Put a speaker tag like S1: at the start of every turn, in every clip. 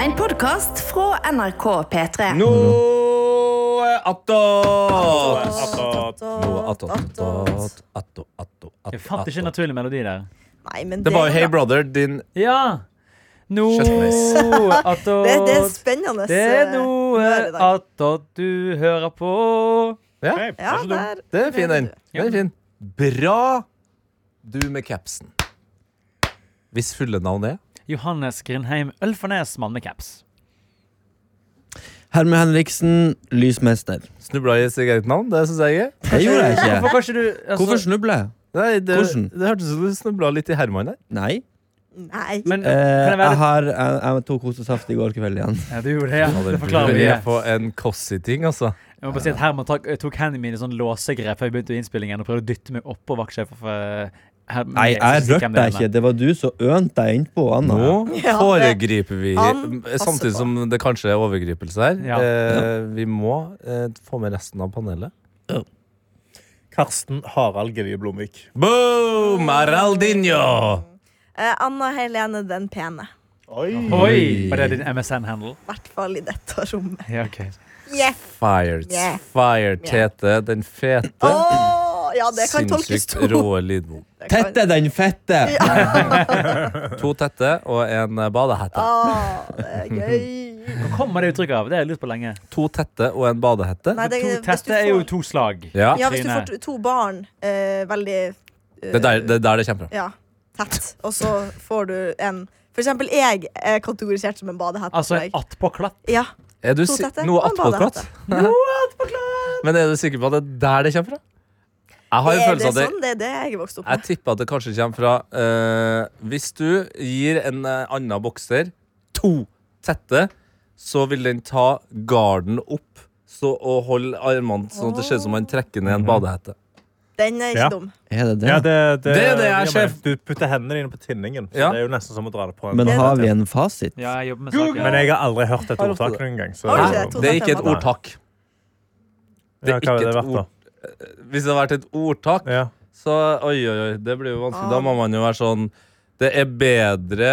S1: En podkast fra NRK P3.
S2: Nå attåt!
S3: Attåt.
S2: Nå attåt, attåt, attåt, attåt,
S3: Jeg fant ikke
S2: attåt.
S3: en naturlig melodi der.
S4: Nei, men
S2: Det var jo
S4: er
S2: Hey
S4: bra.
S2: Brother, din
S3: Ja! Nå
S2: Kjøttmeis.
S3: attåt
S4: Det, det er spennende.
S3: Det er noe
S4: eh, i dag.
S3: attåt du hører på.
S2: Ja,
S5: Hei,
S4: Ja,
S5: vær så god.
S4: der.
S2: det er fin, den.
S3: Ja.
S2: Den er fin. Bra, du med capsen. Hvis fulle navn er
S3: Johannes Grindheim Ølfarnes, mann med caps.
S6: Herme Henriksen, lysmester.
S2: Snubla i sitt eget navn, det syns jeg ikke.
S6: Det gjorde jeg
S3: Hvorfor
S6: ikke.
S3: kan ikke du altså,
S6: Hvorfor snubler jeg?
S2: Nei, det,
S6: Hvordan?
S2: det hørtes ut som du snubla litt i Herman der.
S6: Nei.
S4: Nei.
S3: Men kan
S6: Eh,
S3: jeg
S6: jeg,
S3: være
S6: har, jeg, jeg tok kosesaft i går kveld igjen.
S3: ja, Du gjorde det, ja. Det forklarer
S2: Vi
S3: mye.
S2: er på en Kåssi-ting, altså.
S3: Jeg må bare si at Herman tok, tok hendene mine i sånn låsegrep før jeg begynte innspillingen, og prøvde å dytte meg oppå vaktsjefen. for, eh, Herman-
S6: Nei, jeg
S3: husker hvem
S6: rørte
S3: det er,
S6: deg ikke. Det var du som ønte deg innpå, Anna.
S2: Nå
S4: Ja,
S2: foregriper vi,
S4: Han passer
S2: samtidig
S4: på.
S2: som det kanskje er overgripelse her.
S3: Ja.
S2: Eh, vi må eh, få med resten av panelet.
S5: Karsten Harald Gilje Blomvik.
S2: Boom! Araldinho!
S4: Eh, Anna Helene den pene.
S5: Oi.
S3: men- Oi! Var det din MSN-handel?
S4: I hvert fall i dette rommet.
S3: Ja, ok.
S4: Yeah.
S2: Fire,
S4: Yeah.
S2: fire, Tete, den fete.
S4: Åh, ja, det kan tolkes
S2: Sinnssykt
S4: to.
S2: rå lydbok.
S4: Det kan-
S6: Tette den fette!
S2: To tette og en eh, badehette.
S4: Åh, det er gøy.
S3: Hvor kommer det uttrykket av? Det har jeg lurt på lenge.
S2: To tette og en badehette.
S4: Nei, det,
S3: To
S4: hvis du
S3: tester er jo
S4: får-
S3: to slag.
S2: Ja,
S4: Ja, hvis du
S3: Trine.
S4: får to- to barn, eh, veldig eh,
S2: det er der det, er der det kommer fra.
S4: Ja, tett, og så får du en For eksempel, jeg er kategorisert som en badehette.
S3: Altså
S4: tror jeg.
S3: en attpåklatt.
S4: ja,
S2: Er du
S4: to
S2: si
S4: tette
S2: noe
S4: og en badehette.
S2: attpåklatt? Men er du sikker på at det er der det kommer fra? Jeg har en
S4: Er det
S2: følelse av at det
S4: sånn? Det er det jeg er vokst opp
S2: Jeg
S4: med.
S2: tipper at det kanskje kommer fra eh, Hvis du gir en eh, annen bokser to tette, så vil den ta garden opp så, og holde armene sånn at det ser ut som man trekker ned en badehette.
S4: Den er ikke
S5: Ja.
S4: dum.
S6: Er det det?
S5: Ja, det,
S2: Det er det jeg er
S5: ja, men
S2: sjef.
S5: Du putter hendene dine på tinningen. så
S2: Ja.
S5: Det er jo nesten som å dra det på en
S6: Men
S4: Det er
S6: har vi en fasit?
S3: Ja, jeg jobber med
S5: Google. Men
S3: saker.
S5: jeg har aldri hørt et
S2: Har du hørt
S5: ordtak
S2: det?
S5: noen gang. Så,
S4: Har du
S5: ja,
S4: ikke
S2: Det er ikke et
S4: Nei.
S2: ordtak.
S5: hva
S2: ikke
S5: hadde det
S2: et
S5: vært, da?
S2: Hvis det hadde vært et ordtak,
S5: Ja.
S2: så oi, oi, oi, det blir jo vanskelig. Da må man jo være sånn Det er bedre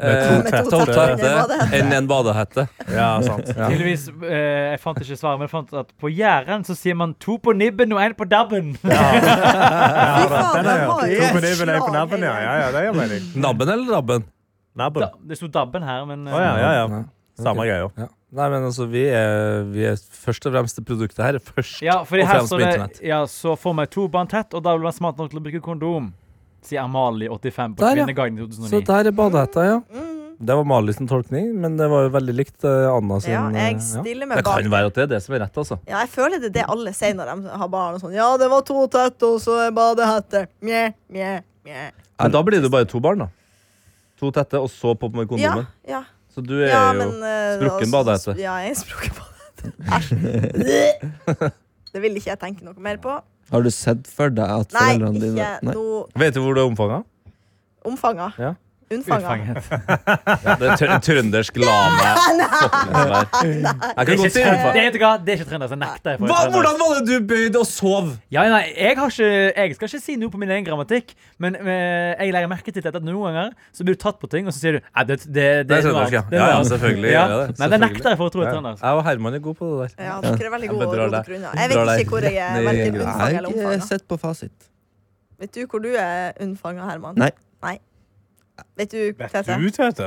S2: eh,
S5: Med to
S2: to
S5: tette
S2: tette
S4: enn en badehette.
S2: enn en badehette.
S5: ja, sant. Ja.
S3: Tydeligvis, eh, Jeg fant ikke svaret, men jeg fant at på Jæren så sier man to på nibben og én på dabben.
S4: Fy faen,
S5: Den er,
S4: den
S5: ja.
S4: var jo
S5: Jo, men det er vel jeg på
S4: slag
S5: nabben, ja.
S4: hele
S5: ja, ja det gjør mening.
S2: Nabben eller rabben?
S5: Nabben.
S3: Da, det sto dabben her, men eh,
S5: Å ja, ja, ja. Samme greia.
S2: Ja. Nei, men altså, vi er, vi er først og fremst det produktet her. er Først
S3: Ja, fordi
S2: og
S3: her
S2: fremst
S3: står
S2: på internett.
S3: det Ja, så får meg to bånd tett, og da vil man smart nok til å bruke kondom. Sier Amalie 85 på
S2: Der, ja.
S3: Kvinneguiden i
S2: Så
S3: 2009.
S2: der er badehetta, ja.
S4: Mm.
S2: Det var Mali sin tolkning, men det var jo veldig likt eh, Anna sin.
S4: Ja, jeg
S2: eh,
S4: stiller
S2: Det
S4: med
S2: kan
S4: bak.
S2: være at det er det som er rett, altså.
S4: Ja, jeg føler det er det alle sier når de har barn. Og sånn, ja, det var to tett, og så en badehette. Mjau, mjau, mjau.
S2: Men da blir det jo bare to barn, da. To tette, og så på med
S4: Ja,
S2: kondomen.
S4: ja.
S2: Så du er
S4: ja,
S2: jo
S4: men eh,
S2: sprukken
S4: også-
S2: badehette.
S4: Ja, jeg er en sprukken badehette. Æsj. Det vil ikke jeg tenke noe mer på.
S6: Har du sett for deg at
S4: Nei,
S6: foreldrene dine
S4: ikke noe
S2: Vet du hvor du er omfanga?
S4: omfanga.
S2: Ja.
S4: Unnfanga.
S3: Utfanget.
S2: Ja, det er tr trøndersk lame. Fuckings vær. Jeg
S3: Det
S2: kan godt
S3: er
S2: si
S3: ikke
S2: omfang.
S3: trønder, Det er ikke trønder, så nekter jeg. for å
S2: Hva,
S3: være trønder.
S2: hvordan var det du bøyd og sov?
S3: Ja, nei, jeg, har ikke, jeg skal ikke si noe på min egen grammatikk, men eh, jeg legger merke til dette at noen ganger så blir du tatt på ting, og så sier du Nei, det, det,
S2: Det er
S3: det, noe
S2: trøndersk, ja.
S3: annet. Det er
S2: Ja,
S3: noe
S2: ja,
S3: annet."
S2: selvfølgelig.
S3: Ja.
S2: gjør jeg det.
S3: Nei, det
S2: Selvfølgelig.
S3: nekter jeg for å tro er
S2: Ja.
S3: trøndersk.
S2: Jeg og Herman er gode på det der.
S4: Ja, dere altså, er veldig
S2: men
S4: gode å
S2: drar
S4: rote
S2: deg-
S4: unna.
S2: drar
S4: Jeg vet
S2: deg
S4: ikke hvor jeg er.
S2: ned i
S4: Verken
S2: grøten.
S4: unnfanga
S6: Jeg
S4: eller
S6: har ikke
S4: omfanga.
S6: sett på fasit.
S4: Vet du hvor du er unnfanga, Herman?
S6: Nei.
S4: Nei. Vet du,
S5: Vet
S4: Tete?
S5: du, Tete?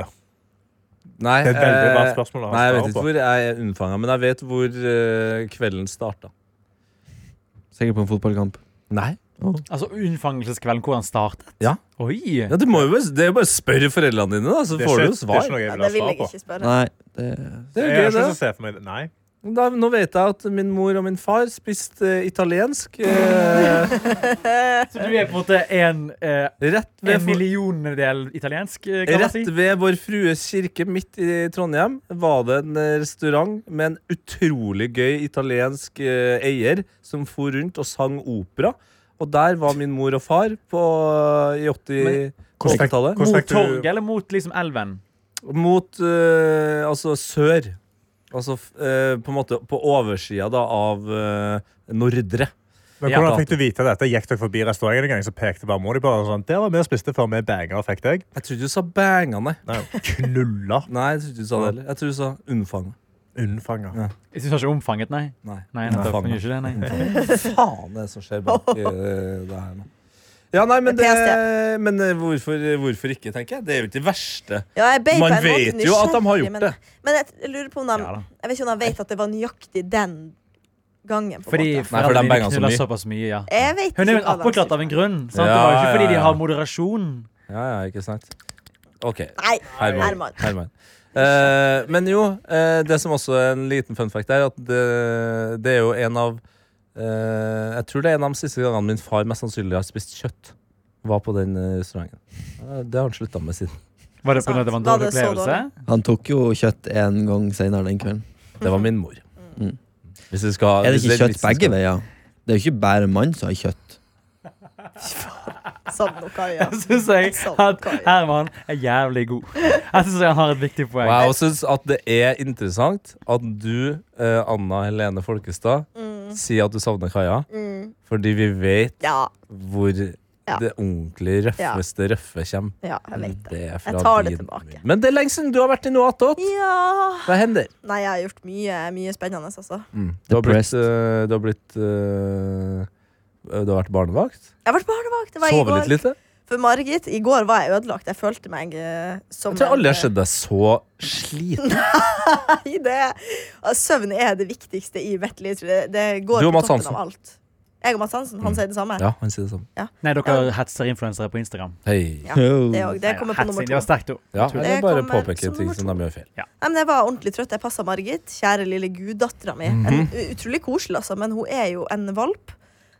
S2: Nei,
S5: Det er et veldig bra
S2: eh,
S5: spørsmål å ha
S2: Nei, jeg vet
S5: svar
S2: ikke
S5: på.
S2: hvor jeg er unnfanga, men jeg vet hvor eh, kvelden starta.
S6: Sikkert på en fotballkamp.
S2: Nei.
S3: Altså unnfangelseskvelden, hvor han startet?
S2: Ja.
S3: Oi!
S2: Ja, du må jo bare, det er jo bare å spørre foreldrene dine, da, så
S5: Det er
S2: får du
S5: ikke-
S2: jo svar.
S5: Det er ikke noe
S4: Ja,
S5: jeg vil
S4: det
S5: ha
S4: vil
S5: svar
S4: jeg
S5: på.
S4: ikke spørre.
S6: Nei, det
S2: Det er
S5: Jeg har
S2: jo gøy,
S5: ikke så
S2: det.
S5: se for meg det. Nei.
S2: Da, nå vet jeg at min mor og min far spiste eh, italiensk eh,
S3: Så du er på en måte en, eh,
S2: rett, ved,
S3: en millionedel italiensk, eh, kan man si?
S2: rett ved Vår Frues kirke midt i Trondheim. Var det en eh, restaurant med en utrolig gøy italiensk eh, eier som for rundt og sang opera. Og der var min mor og far på, eh, i 80 på
S5: Hvordan fikk-
S2: 80-tallet.
S5: hvordan
S3: Mot
S5: fikk du-
S3: torget eller mot liksom elven?
S2: Mot eh, altså sør. Altså f- eh, på en måte på oversida da, av eh, Nordre.
S5: Men
S3: Ja.
S5: hvordan fikk du vite dette? Gikk dere forbi restauranten en gang, så pekte barmor de på og sånn, der var vi og spiste før vi banger, fikk deg.
S2: Jeg trodde du sa banga, nei.
S5: Knulla.
S2: Nei, jeg trodde du sa det heller. Jeg trodde du sa unnfanga.
S5: Unnfanger.
S2: Ja.
S3: Jeg synes ikke omfanget, nei.
S2: Nei.
S3: Nei, nettopp.
S2: Omfanget.
S3: Men gjør ikke det, nei.
S2: faen er det som skjer bak eh, det her nå? Ja, nei, men,
S4: Det
S2: det,
S4: er
S2: men eh, hvorfor, hvorfor ikke, tenker jeg. Det er jo ikke det verste.
S4: Ja, jeg beit på
S2: Man
S4: en måte
S2: vet jo at de har
S4: nysgjerrig,
S2: gjort
S4: men,
S2: det.
S4: Men jeg, jeg lurer på om de
S3: Ja da.
S4: Jeg vet ikke om de vet at det var nøyaktig den gangen. På en
S3: Fordi
S2: for
S4: måte.
S2: de
S3: foreldrene
S2: banger
S3: mine
S2: så
S3: knuller
S2: mye.
S3: såpass mye, ja.
S4: Jeg vet
S3: Hun er jo en
S4: ikke hva de
S3: apekatt
S4: sier.
S3: av en grunn. Sant? det var jo
S2: Ja,
S3: ikke fordi
S2: ja,
S3: de
S2: ja.
S3: har moderasjon.
S2: Ja, ja, ikke sant. OK.
S4: Nei,
S2: Herman.
S4: Herman.
S2: Herman. Eh, men jo, eh, det som også er en liten fun fact, er at det, det er jo en av eh, Jeg tror det er en av de siste gangene min far mest sannsynlig har spist kjøtt. Var på den eh, restauranten. Eh, Det har han slutta med siden.
S3: Var det pga. at det var en
S4: Var
S3: dårlig
S4: det så
S3: opplevelse?
S6: Han tok jo kjøtt en gang senere den kvelden.
S2: Det var min mor.
S6: Mm.
S2: Hvis vi skal,
S6: Er det
S2: hvis
S6: ikke kjøtt
S2: vitsen skal-
S6: begge veier? Det er jo ikke bare mann som har kjøtt.
S4: Savner noe, ja.
S3: Syns jeg
S4: Sånn,
S3: at
S4: Kai.
S3: Herman er jævlig god. Jeg syns han har et viktig poeng.
S2: Og jeg syns at det er interessant at du, eh, Anna Helene Folkestad, sier at du savner Kaja.
S4: Mm,
S2: Fordi vi vet
S4: ja,
S2: hvor det ordentlig røffeste røffe kommer.
S4: ja, jeg vet det.
S2: Mm, Det er fra
S4: Jeg tar det
S2: din-
S4: tilbake.
S2: Men det er lenge siden du har vært i noe attåt.
S4: Ja
S2: Hva hender?
S4: Nei, jeg har gjort mye, mye spennende, altså.
S2: Du har blitt,
S6: Depressed.
S2: eh, du har, blitt eh, du har vært barnevakt?
S4: Jeg har vært barnevakt. Det var i
S2: Sovet
S4: går.
S2: litt lite?
S4: For Margit, i går var jeg ødelagt. Jeg følte meg eh, som
S2: Jeg tror aldri jeg har
S4: en- eh,
S2: sett deg så sliten.
S4: Nei, det altså, Søvn er det viktigste i mitt liv. tror jeg. Det går
S2: Du og
S4: på
S2: Mads
S4: toppen
S2: Hansen. Mm.
S4: av alt. Jeg og Mads Hansen. Han sier det samme.
S2: Ja, han sier det samme.
S3: Nei, dere hetser influensere på Instagram.
S2: Hei.
S4: Ja,
S6: Oh.
S4: Det, òg. det kommer på
S3: Hetsing,
S4: nummer
S3: Det var
S4: to.
S3: sterkt, jo.
S2: Ja, det er bare å
S4: kommer
S2: påpeke
S4: som
S2: ting
S4: nummer
S2: som
S4: to.
S2: de gjør feil.
S4: Nei, men jeg var ordentlig trøtt. Jeg passa Margit, kjære lille guddattera mi.
S2: Mhm.
S4: En u- utrolig koselig, altså, men hun er jo en valp.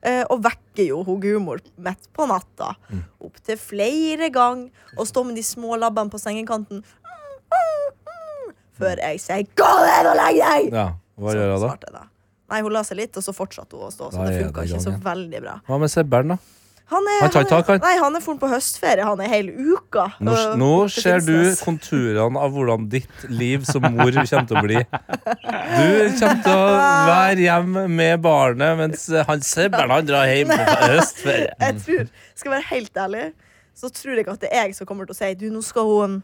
S4: eh, Og vekker jo hun gudmor midt på natta.
S2: Mm.
S4: Opptil flere ganger. Og står med de små labbene på sengekanten. Før jeg sier 'gå ned og legg deg'!
S2: Ja, hva gjør hun da?
S4: svarte jeg da. Nei, hun la seg litt, og så fortsatte hun å stå. Så
S2: Da
S4: det
S2: er
S4: funka
S2: det i
S4: ikke så
S2: gang
S4: veldig bra.
S2: Hva med Sebbern, da?
S4: Han er,
S2: Han tar tak, han.
S4: er, nei, han er foren på høstferie. Han er hele uka.
S2: Nå,
S4: øh,
S2: nå
S4: oppe i
S2: ser du
S4: Finnsnes.
S2: konturene av hvordan ditt liv som mor kommer til å bli. Du kommer til å være hjemme med barnet, mens han Sebbern han drar hjem på høstferie.
S4: jeg tror, skal jeg være helt ærlig, så tror jeg ikke at det er jeg som kommer til å si Du, nå skal hun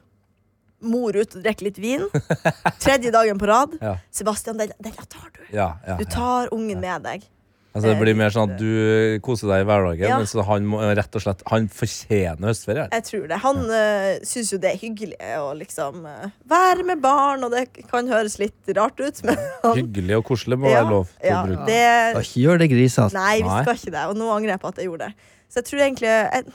S4: mor ut og drikke litt vin. Tredje dagen på rad.
S2: Ja.
S4: Sebastian, den, den tar du.
S2: Ja, ja,
S4: Du
S2: ja.
S4: tar ungen med deg.
S2: Altså, det blir mer sånn at du koser deg i hverdagen,
S4: Ja. Eh,
S2: men så han må rett og slett Han fortjener høstferie.
S4: Jeg tror det. Han øh, syns jo det er hyggelig å liksom øh, være med barn, og det kan høres litt rart ut, men han
S2: Hyggelig og koselig må være lov til
S4: ja,
S2: å bruke.
S4: det,
S6: Da Ikke gjør det grisete.
S4: Nei, vi
S2: Nei.
S4: skal ikke det. Og nå angrer jeg på at jeg gjorde det. Så jeg tror egentlig jeg,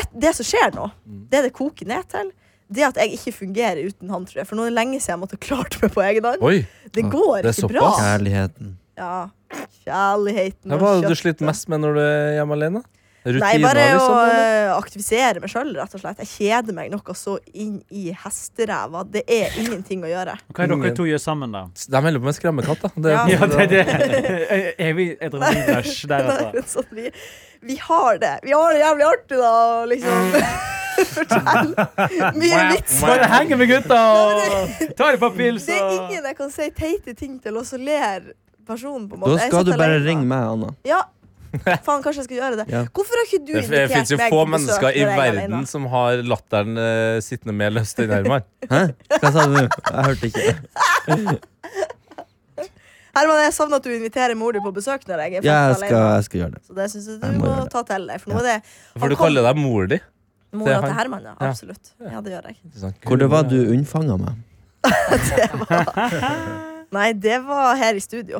S4: rett, Det som skjer nå,
S2: Mm.
S4: det det koker ned til, det at jeg ikke fungerer uten han, tror jeg. For nå er det lenge siden jeg måtte ha klart meg på egen hånd.
S2: Oi!
S4: Det går
S2: det er
S4: ikke bra.
S2: såpass.
S6: Kjærligheten.
S4: Ja. Kjærligheten
S2: Hva er
S4: og
S2: det du
S4: kjøttet.
S2: sliter mest med når du er hjemme alene?
S4: Nei,
S2: Rutiner,
S4: bare å
S2: liksom? eller?
S4: eh, aktivisere meg sjøl, rett og slett. Jeg kjeder meg noe så inn i hesteræva. Det er ingenting å gjøre.
S3: Hva er det dere to gjør sammen, da?
S2: De holder på med skremmekatt, da. Det,
S4: Ja.
S3: Ja, Mm. det, det er evig adrenalinrush der, altså.
S4: Nei, sånn, vi, vi har det. Vi har det jævlig artig, da, og liksom. Fortell. Mye vitser.
S3: Bare henge med gutta og ta det på pils
S4: Det er
S3: og
S4: ingen jeg kan si teite ting til, og så ler personen. på en måte
S6: Da
S4: Jeg
S6: skal du
S4: sitter
S6: bare
S4: alene.
S6: ringe meg, Anna.
S4: Ja, faen, kanskje jeg skal gjøre det.
S6: Ja.
S4: Hvorfor har ikke du
S2: Det, det
S4: invitert
S2: fins jo
S4: meg
S2: få
S4: på besøk
S2: mennesker i
S4: når jeg er
S2: verden
S4: alene?
S2: som har latteren eh, sittende mer løst enn Herman.
S6: Hæ? Hva sa du? Jeg hørte ikke.
S4: Herman, jeg savner at du inviterer mor di på besøk når jeg er
S6: Ja, jeg
S4: faktisk
S6: skal,
S4: alene.
S6: jeg skal gjøre det.
S4: Så det syns jeg du
S6: Jeg må
S4: må,
S6: gjøre det.
S4: ta til deg. For nå er det
S2: For du kaller deg mor di. Sånn,
S4: mora
S2: han.
S4: til Herman, ja.
S2: Ja.
S4: Absolutt. Ja, det gjør jeg.
S6: Hvor det var du unnfanga meg?
S4: Nei, det var her i studio.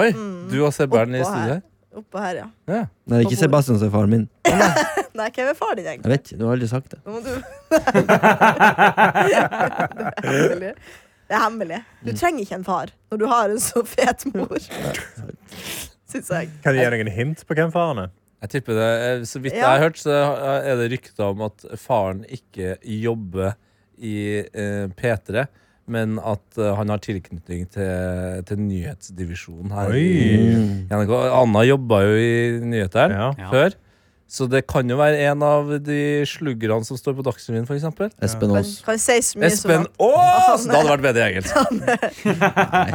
S2: Oi, du og Sebern i
S4: Mm. Oppå
S2: studio her.
S4: Oppå her, ja.
S2: Ja.
S6: Nei, det er ikke Sebastian som er faren min.
S4: Nei, hvem er far din,
S6: Jeg
S4: egentlig?
S6: vet ikke, du har aldri sagt det.
S4: Nå må du Det er hemmelig. Det er hemmelig. Du trenger ikke en far når du har en så fet mor. Syns jeg.
S5: Kan jeg gi deg en hint på hvem faren er?
S2: Jeg tipper det. eh, Så vidt jeg
S4: Ja.
S2: har hørt, så er det rykter om at faren ikke jobber i eh, P3. Men at eh, han har tilknytning til, til nyhetsdivisjonen her i NRK. Anna jobba jo i nyhetene
S5: Ja.
S3: Ja.
S2: før. Så det kan jo være en av de sluggerne som står på Dagsrevyen, f.eks.
S6: Espen
S4: Men
S6: Aas.
S4: kan jeg si så mye
S2: Espen
S4: som at
S2: Aas! Det hadde vært bedre i engelsk. Da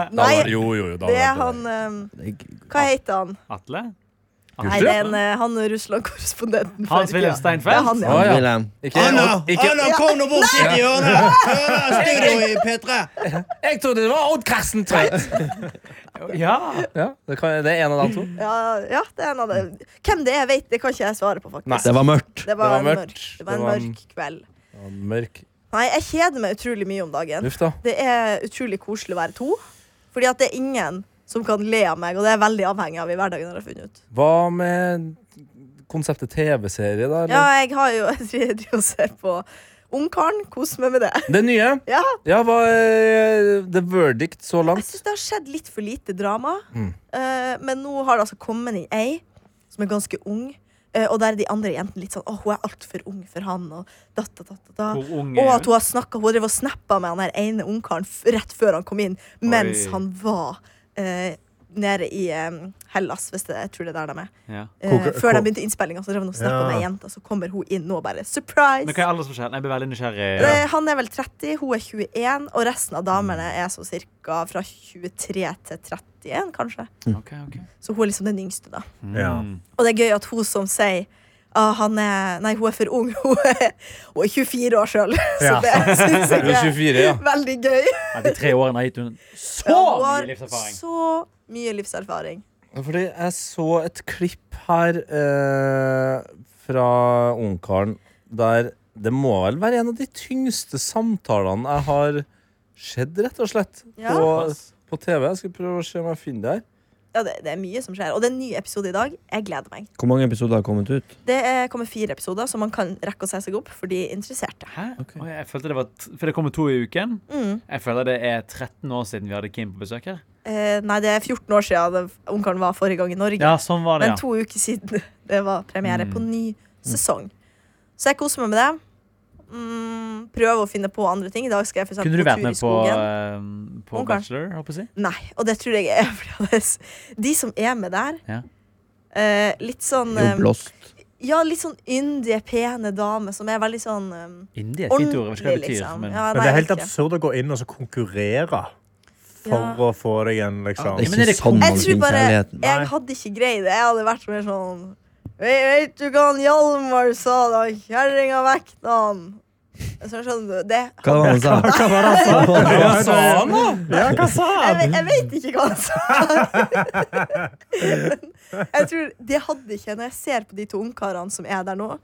S4: Nei,
S2: var, jo, jo, jo, da
S4: det er
S2: hadde vært bedre.
S4: han ehm,
S6: Det er ikke-
S4: Hva heter han?
S3: Atle?
S4: Nei, det er en, eh, han Russland-korrespondenten. fra
S3: Hans Wilhelm
S4: Tyrkia.
S3: Steinfeld?
S4: Ja, han, ja.
S2: Å, ja.
S6: Wilhelm.
S2: Ikke,
S7: Anna,
S2: og, ikke,
S7: Anna, kom nå bort hit i hjørnet! Hører studio i P3!
S2: jeg trodde det var Odd Karsten Tveit!
S3: Ja.
S2: Ja, det, kan, det er en av de to.
S4: Ja, ja, det er en av det. Hvem det er, vet det kan ikke jeg svare på, faktisk.
S2: Nei.
S6: Det var mørkt.
S4: Det var,
S2: Det var
S4: en
S2: mørkt.
S4: mørk, det var en
S2: Det var-
S4: mørk kveld.
S2: Ja, Mørk.
S4: Nei, jeg kjeder meg utrolig mye om dagen.
S2: Uff, da.
S4: Det er utrolig koselig å være to, fordi at det er ingen som kan le av meg, og det er jeg veldig avhengig av i hverdagen. har jeg funnet ut.
S2: Hva med konseptet TV-serie, da?
S4: Ja,
S2: Eller?
S4: jeg har jo jeg driver og ser på Ungkaren. Kos meg med det.
S2: Det nye?
S4: Ja,
S2: Ja, hva er The Verdict så
S4: Jeg
S2: langt?
S4: syns det har skjedd litt for lite drama.
S2: Mm.
S4: Eh, men nå har det altså kommet inn ei som er ganske ung. eh, og der er de andre jentene litt sånn Å, hun er altfor ung for han. Og, da, da, da, da, da.
S3: Hvor ung
S4: og
S3: er
S4: at
S3: hun?
S4: hun har snakket, hun drev og snappa med han her ene ungkaren f- rett før han kom inn, mens
S3: Oi.
S4: han var eh, nede i eh, Hellas, hvis det, jeg tror det er der de er.
S3: Ja.
S4: Eh,
S5: Hvor-
S4: før
S5: hvor-
S4: de begynte innspillinga, så drev han og snappa
S5: Ja.
S4: med ei jente, og så kommer hun inn nå og bare
S3: Men
S4: Surprise!
S3: hva er aldersforskjellen? Jeg blir veldig nysgjerrig.
S4: Eh, Han er vel 30, hun er 21, og resten av damene er så cirka fra 23 til 31, kanskje.
S3: Ok, ok.
S4: Så hun er liksom den yngste, da.
S6: Mm.
S5: Ja.
S4: Og det er gøy at hun som sier ah, han er, Nei, hun er for ung. Hun er, hun er 24 år sjøl, så
S5: Ja.
S4: det syns
S2: Hun er
S4: jeg
S2: 24, ja.
S4: er veldig gøy.
S3: Ja, de tre årene har gitt hun så
S4: Ja,
S3: mye
S4: hun har
S3: livserfaring.
S4: Så mye livserfaring.
S2: Fordi jeg så et klipp her eh, fra Ungkaren der det må vel være en av de tyngste samtalene jeg har sett, rett og slett,
S4: Ja.
S2: på, på TV. Jeg skal prøve å se om jeg finner det her.
S4: Ja, det, det er mye som skjer. Og det er en ny episode i dag. Jeg gleder meg.
S6: Hvor mange episoder har kommet ut?
S4: Det er, kommer fire episoder, så man kan rekke å se seg opp for de interesserte.
S3: Hæ? Oi, jeg følte det var t For det kommer to i uken.
S4: Mm.
S3: Jeg føler det er 13 år siden vi hadde Kim på besøk her.
S4: Eh, nei, det er 14 år siden det- Ungkaren var forrige gang i Norge.
S3: Ja, sånn var det,
S4: Men
S3: ja.
S4: to uker siden det var premiere
S3: Mm.
S4: på ny sesong. Så jeg koser meg med det. Mm, prøver å finne på andre ting. I dag skal jeg for eksempel
S3: Kunne du
S4: på
S3: vært
S4: tur i
S3: med på,
S4: skogen.
S3: eh, på
S4: Ungkaren.
S3: Bachelor, håper jeg å si?
S4: Nei, og det tror jeg er fordi at s- De som er med der,
S3: Ja.
S4: eh, litt sånn
S6: Jo,
S4: eh,
S6: blåst.
S4: Ja, litt sånn yndige, pene damer som er veldig sånn eh,
S3: Indie er et fint ord. Jeg vet ikke hva
S4: ordentlig,
S3: det betyr.
S4: liksom.
S3: Men...
S4: Ja,
S5: Men det er
S4: jeg
S5: helt
S4: vet ikke.
S5: absurd å gå inn og så konkurrere for
S4: Ja.
S5: å få deg en liksom
S6: Det
S3: Ja, men er
S6: er
S3: det
S6: ikke sånn man
S4: Jeg tror
S6: finner
S4: bare
S6: kjærligheten.
S5: Nei.
S4: Jeg hadde ikke greid det. Jeg hadde vært mer sånn Vet, vet du hva han Hjalmar sa da kjerringa vekta han? Så skjønner du, det
S6: Hva var det han sa? Hva var det han sa?
S2: Hva sa han, da?
S5: Ja, hva sa
S4: jeg, ve- jeg vet ikke hva han sa. Men jeg tror Det hadde ikke Når jeg ser på de to ungkarene som er der nå,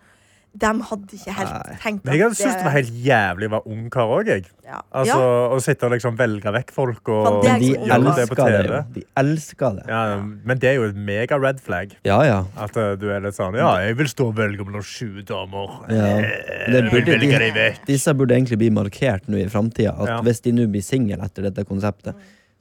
S4: de hadde ikke helt
S6: Nei.
S4: tenkt
S5: Jeg hadde syntes det var helt jævlig å være ungkar òg, jeg.
S4: ja.
S5: Altså,
S4: ja.
S5: Å sitte og liksom velge vekk folk og
S4: Men
S6: De
S4: Ja,
S5: gjøre det på
S6: elsker det.
S5: TV.
S6: jo. De elsker det.
S5: Ja, men det er jo et mega red flag.
S6: Ja, ja.
S5: At eh, du er litt sånn Ja, jeg vil stå og velge mellom sju damer.
S6: ja. Men Det
S5: Jeg vil
S6: burde
S5: velge deg
S6: de,
S5: vekk.
S6: disse burde egentlig bli markert nå i framtida.
S5: Ja.
S6: At hvis de nå blir single etter dette konseptet,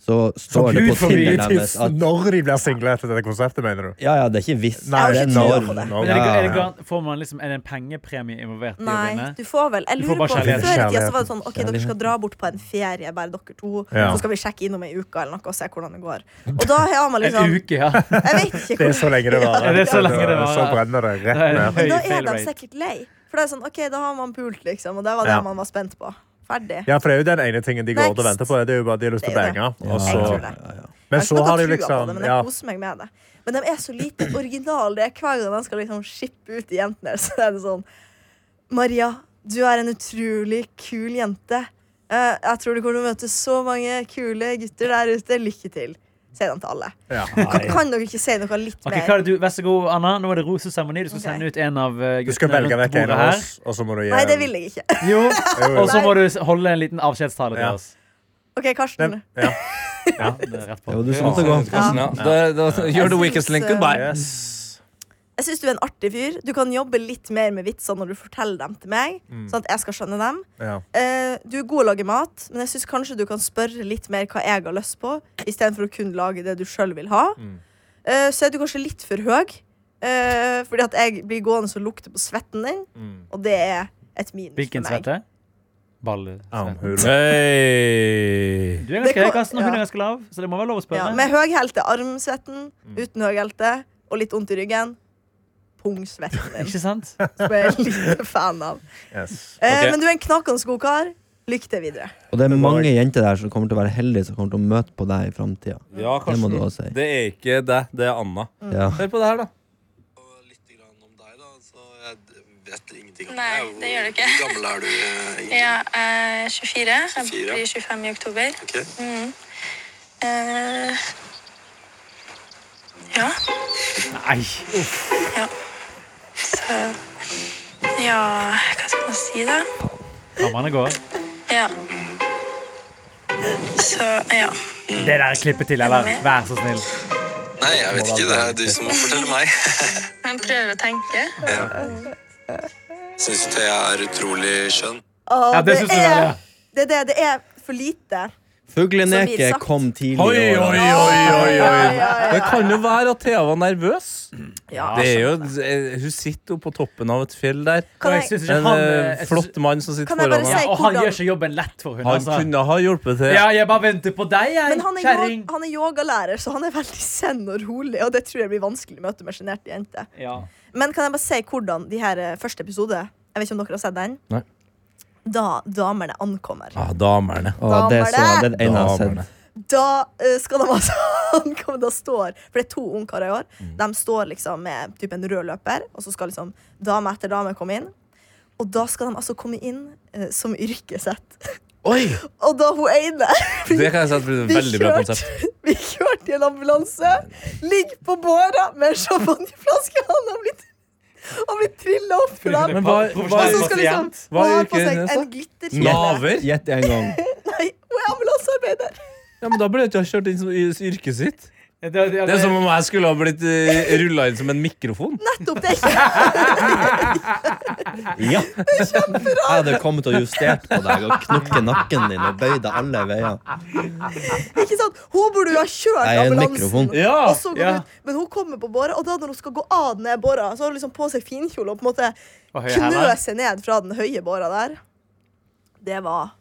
S6: så
S5: Så
S6: står det
S5: Gud
S6: på
S5: forby
S6: Tinder deres
S5: tips
S6: at
S5: når de blir single etter dette konseptet, mener du?
S6: Ja, ja, det er ikke hvis.
S5: Nei,
S6: det
S4: Jeg
S6: er
S4: har ikke
S6: når.
S4: trua på det.
S5: når.
S3: Men er, det, er, det,
S6: Ja,
S5: ja.
S3: gan- får man liksom, er det en pengepremie involvert i å vinne?
S4: Nei, du får vel Jeg
S3: Du får
S4: lurer
S3: bare
S4: på Før i
S3: kjærligheten.
S4: tida så var det sånn OK, dere skal
S6: Kjærligheten.
S4: dra bort på en ferie, bare dere to.
S5: Ja.
S4: Så skal vi sjekke innom ei uke eller noe og se hvordan det går. Og da har man
S3: En
S4: liksom
S3: uke, ja.
S4: Jeg vet ikke
S5: Det er så lenge det varer.
S3: Ja, det er så lenge det varer.
S5: Så brenner det rett ned.
S4: Men
S3: Høy
S4: da er
S3: fail
S4: de
S3: rate.
S4: sikkert lei. For det er sånn, ok, da har man pult, liksom. Og det var det
S5: Ja.
S4: man var spent på. Ferdig.
S5: Ja, for det er jo den ene tingen de går
S4: Next.
S5: og venter på. Det er jo bare at de har lyst til å
S4: Det er
S5: bange. Og
S4: Jeg
S5: så,
S4: tror det. Jeg
S5: men
S4: har ikke
S5: så
S4: noe
S5: har de
S4: trua på
S5: liksom
S4: det, men
S5: ja,
S4: jeg koser meg med det. Men de er så lite originale. Det er hver gang de skal liksom shippe ut de jentene, så er det sånn Maria, du er en utrolig kul jente. Eh, Jeg tror du kommer til å møte så mange kule gutter der ute. Lykke til. Sier de til alle.
S5: ja.
S4: Kan, kan dere ikke si noe litt
S3: Ok, hva
S4: mer?
S3: er det du, Vær så god, Anna. Nå er det roseseremoni. Du skal
S4: Ok.
S3: sende ut en av eh,
S5: Du skal
S3: guttene
S5: velge
S3: rundt
S5: vekk en av
S3: bordet her.
S5: oss, og så må du gi
S4: Nei, det vil jeg ikke.
S3: Jo,
S5: Jo, jo.
S3: Og så må du s- holde en liten avskjedstale til
S5: Ja.
S3: oss.
S4: OK, Karsten.
S5: Nei, ja.
S3: Ja, det er rett på.
S6: Det var du som måtte gå.
S2: Ja. Da, da,
S4: Jeg
S2: gjør the weakest
S4: synes,
S2: link
S4: eh,
S2: goodbye.
S5: Yes.
S4: Jeg syns du er en artig fyr. Du kan jobbe litt mer med vitser når du forteller dem til meg. Sånn at jeg skal skjønne dem
S5: Ja.
S4: Eh, Du er god å lage mat, men jeg syns kanskje du kan spørre litt mer hva jeg har lyst på, istedenfor å kun lage det du sjøl vil ha. Eh, så er du kanskje litt for høy, eh, fordi at jeg blir gående og lukter på svetten din,
S5: Mm.
S4: og det er et minus
S3: Hvilken
S4: for meg.
S3: svette? Ballesvette.
S5: Armhule.
S2: Hey.
S3: Du er
S4: Det
S3: ganske høy,
S4: kan-
S3: Karsten, og hun
S4: ja.
S3: er ganske lav, så det må være lov å
S4: Ja,
S3: spørre.
S4: med høyhælte armsvetten, uten høyhælte og litt vondt i ryggen. Pungsvetten din,
S3: Ikke sant?
S4: som jeg er litt fan av.
S5: Yes.
S4: Eh,
S2: Ok.
S4: Men du er en knakende god kar. Lykke til videre.
S6: Og det er mange jenter der som kommer til å være heldige som kommer til å møte på deg i framtida.
S2: Ja,
S6: Det må
S2: Karsten.
S6: du også si.
S2: Det er ikke deg, det er Anna.
S6: Ja.
S2: Hør på det her, da.
S8: dette ingenting om.
S9: Nei, det gjør det ikke.
S8: Hvor gammel er du eh, egentlig?
S9: Ja, jeg er 24. Jeg
S8: 24,
S9: blir 25 i oktober. Mm.
S8: Ok.
S9: Eh, ja.
S3: Nei.
S9: Så Ja, hva skal man si, da?
S3: Kameraene går.
S9: Ja. Så ja.
S3: Det der klippet til, eller? Vær så snill.
S8: Nei, jeg vet ikke. Det er du som må fortelle meg.
S9: Man prøver å tenke.
S8: Syns du Thea er utrolig skjønn?
S4: Åh,
S3: Ja, det synes du vel, ja.
S4: det, er det, det er for lite. Som blir
S6: Fugleneket
S4: sagt.
S6: kom tidlig
S2: Oi,
S6: i
S2: oi,
S6: år.
S2: oi, oi,
S4: Ja,
S2: oi.
S4: ja, ja.
S2: Det kan jo være at Thea var nervøs.
S4: Ja.
S2: Det er jo, eh, hun sitter jo på toppen av et fjell der.
S4: Kan
S3: Og jeg
S4: jeg-
S3: synes ikke
S2: En
S3: han
S2: eh,
S3: jeg synes-
S2: flott mann som sitter
S4: Kan jeg bare
S2: foran
S4: si-
S2: henne.
S3: ja, Og han
S4: hvordan-
S3: gjør ikke jobben lett for henne.
S2: Han
S3: Altså.
S2: kunne ha hjulpet til.
S3: Ja, jeg bare venter på deg, jeg,
S4: Men han er,
S3: kjerring.
S4: jo- han er yogalærer, så han er veldig zen og rolig. Og det tror jeg blir vanskelig å møte med sjenerte jenter.
S3: Ja.
S4: Men kan jeg bare si hvordan de her eh, første episode Jeg vet ikke om dere har sett den?
S2: Nei.
S4: Da damene ankommer.
S2: Ah, damerne.
S6: Å, det er så det er det ene jeg har
S2: Damerne.
S6: sett.
S4: Da eh, skal de altså ankomme. Da står For det er to ungkarer i år.
S2: Mm.
S4: De står liksom med typ en rød løper, og så skal liksom dame etter dame komme inn. Og da skal de altså komme inn eh, som yrket sitt.
S2: Oi!
S4: Og da hun ene
S2: Det kan jeg si at blir et
S4: Vi
S2: veldig bra
S4: kjørte-
S2: konsept.
S4: Vi kjørte i en ambulanse, ligger på båra med en champagneflaske. Han har blitt, han blitt trilla opp til dem.
S2: Men hva-
S4: Og
S2: hva-
S4: så skal liksom
S2: Hva
S4: hun har
S2: gikk
S4: på seg
S2: hun i,
S4: en
S2: altså?
S4: glitterkjele.
S2: Naver?
S6: Gjett en gang.
S4: Nei, hun er ambulansearbeider.
S2: Ja, men Da burde jeg ikke ha kjørt inn som- i yrket sitt.
S3: Det, det, det,
S2: Det er som om jeg skulle ha blitt uh, rulla inn som en mikrofon.
S4: Nettopp, det er ikke
S6: Ja. Jeg hadde kommet og justert på deg og knukket nakken din og bøyd deg alle veier.
S4: Ikke sant? Hun burde jo ha kjørt
S6: Jeg er en
S4: ambulansen.
S6: mikrofon.
S2: Ja,
S4: og så går
S3: ja.
S4: hun ut. Men hun kommer på båra, og da når hun skal gå av den ned båra, så har hun liksom på seg finkjole og på en måte
S3: Og høye hæler.
S4: knøse ned fra den høye båra der. Det var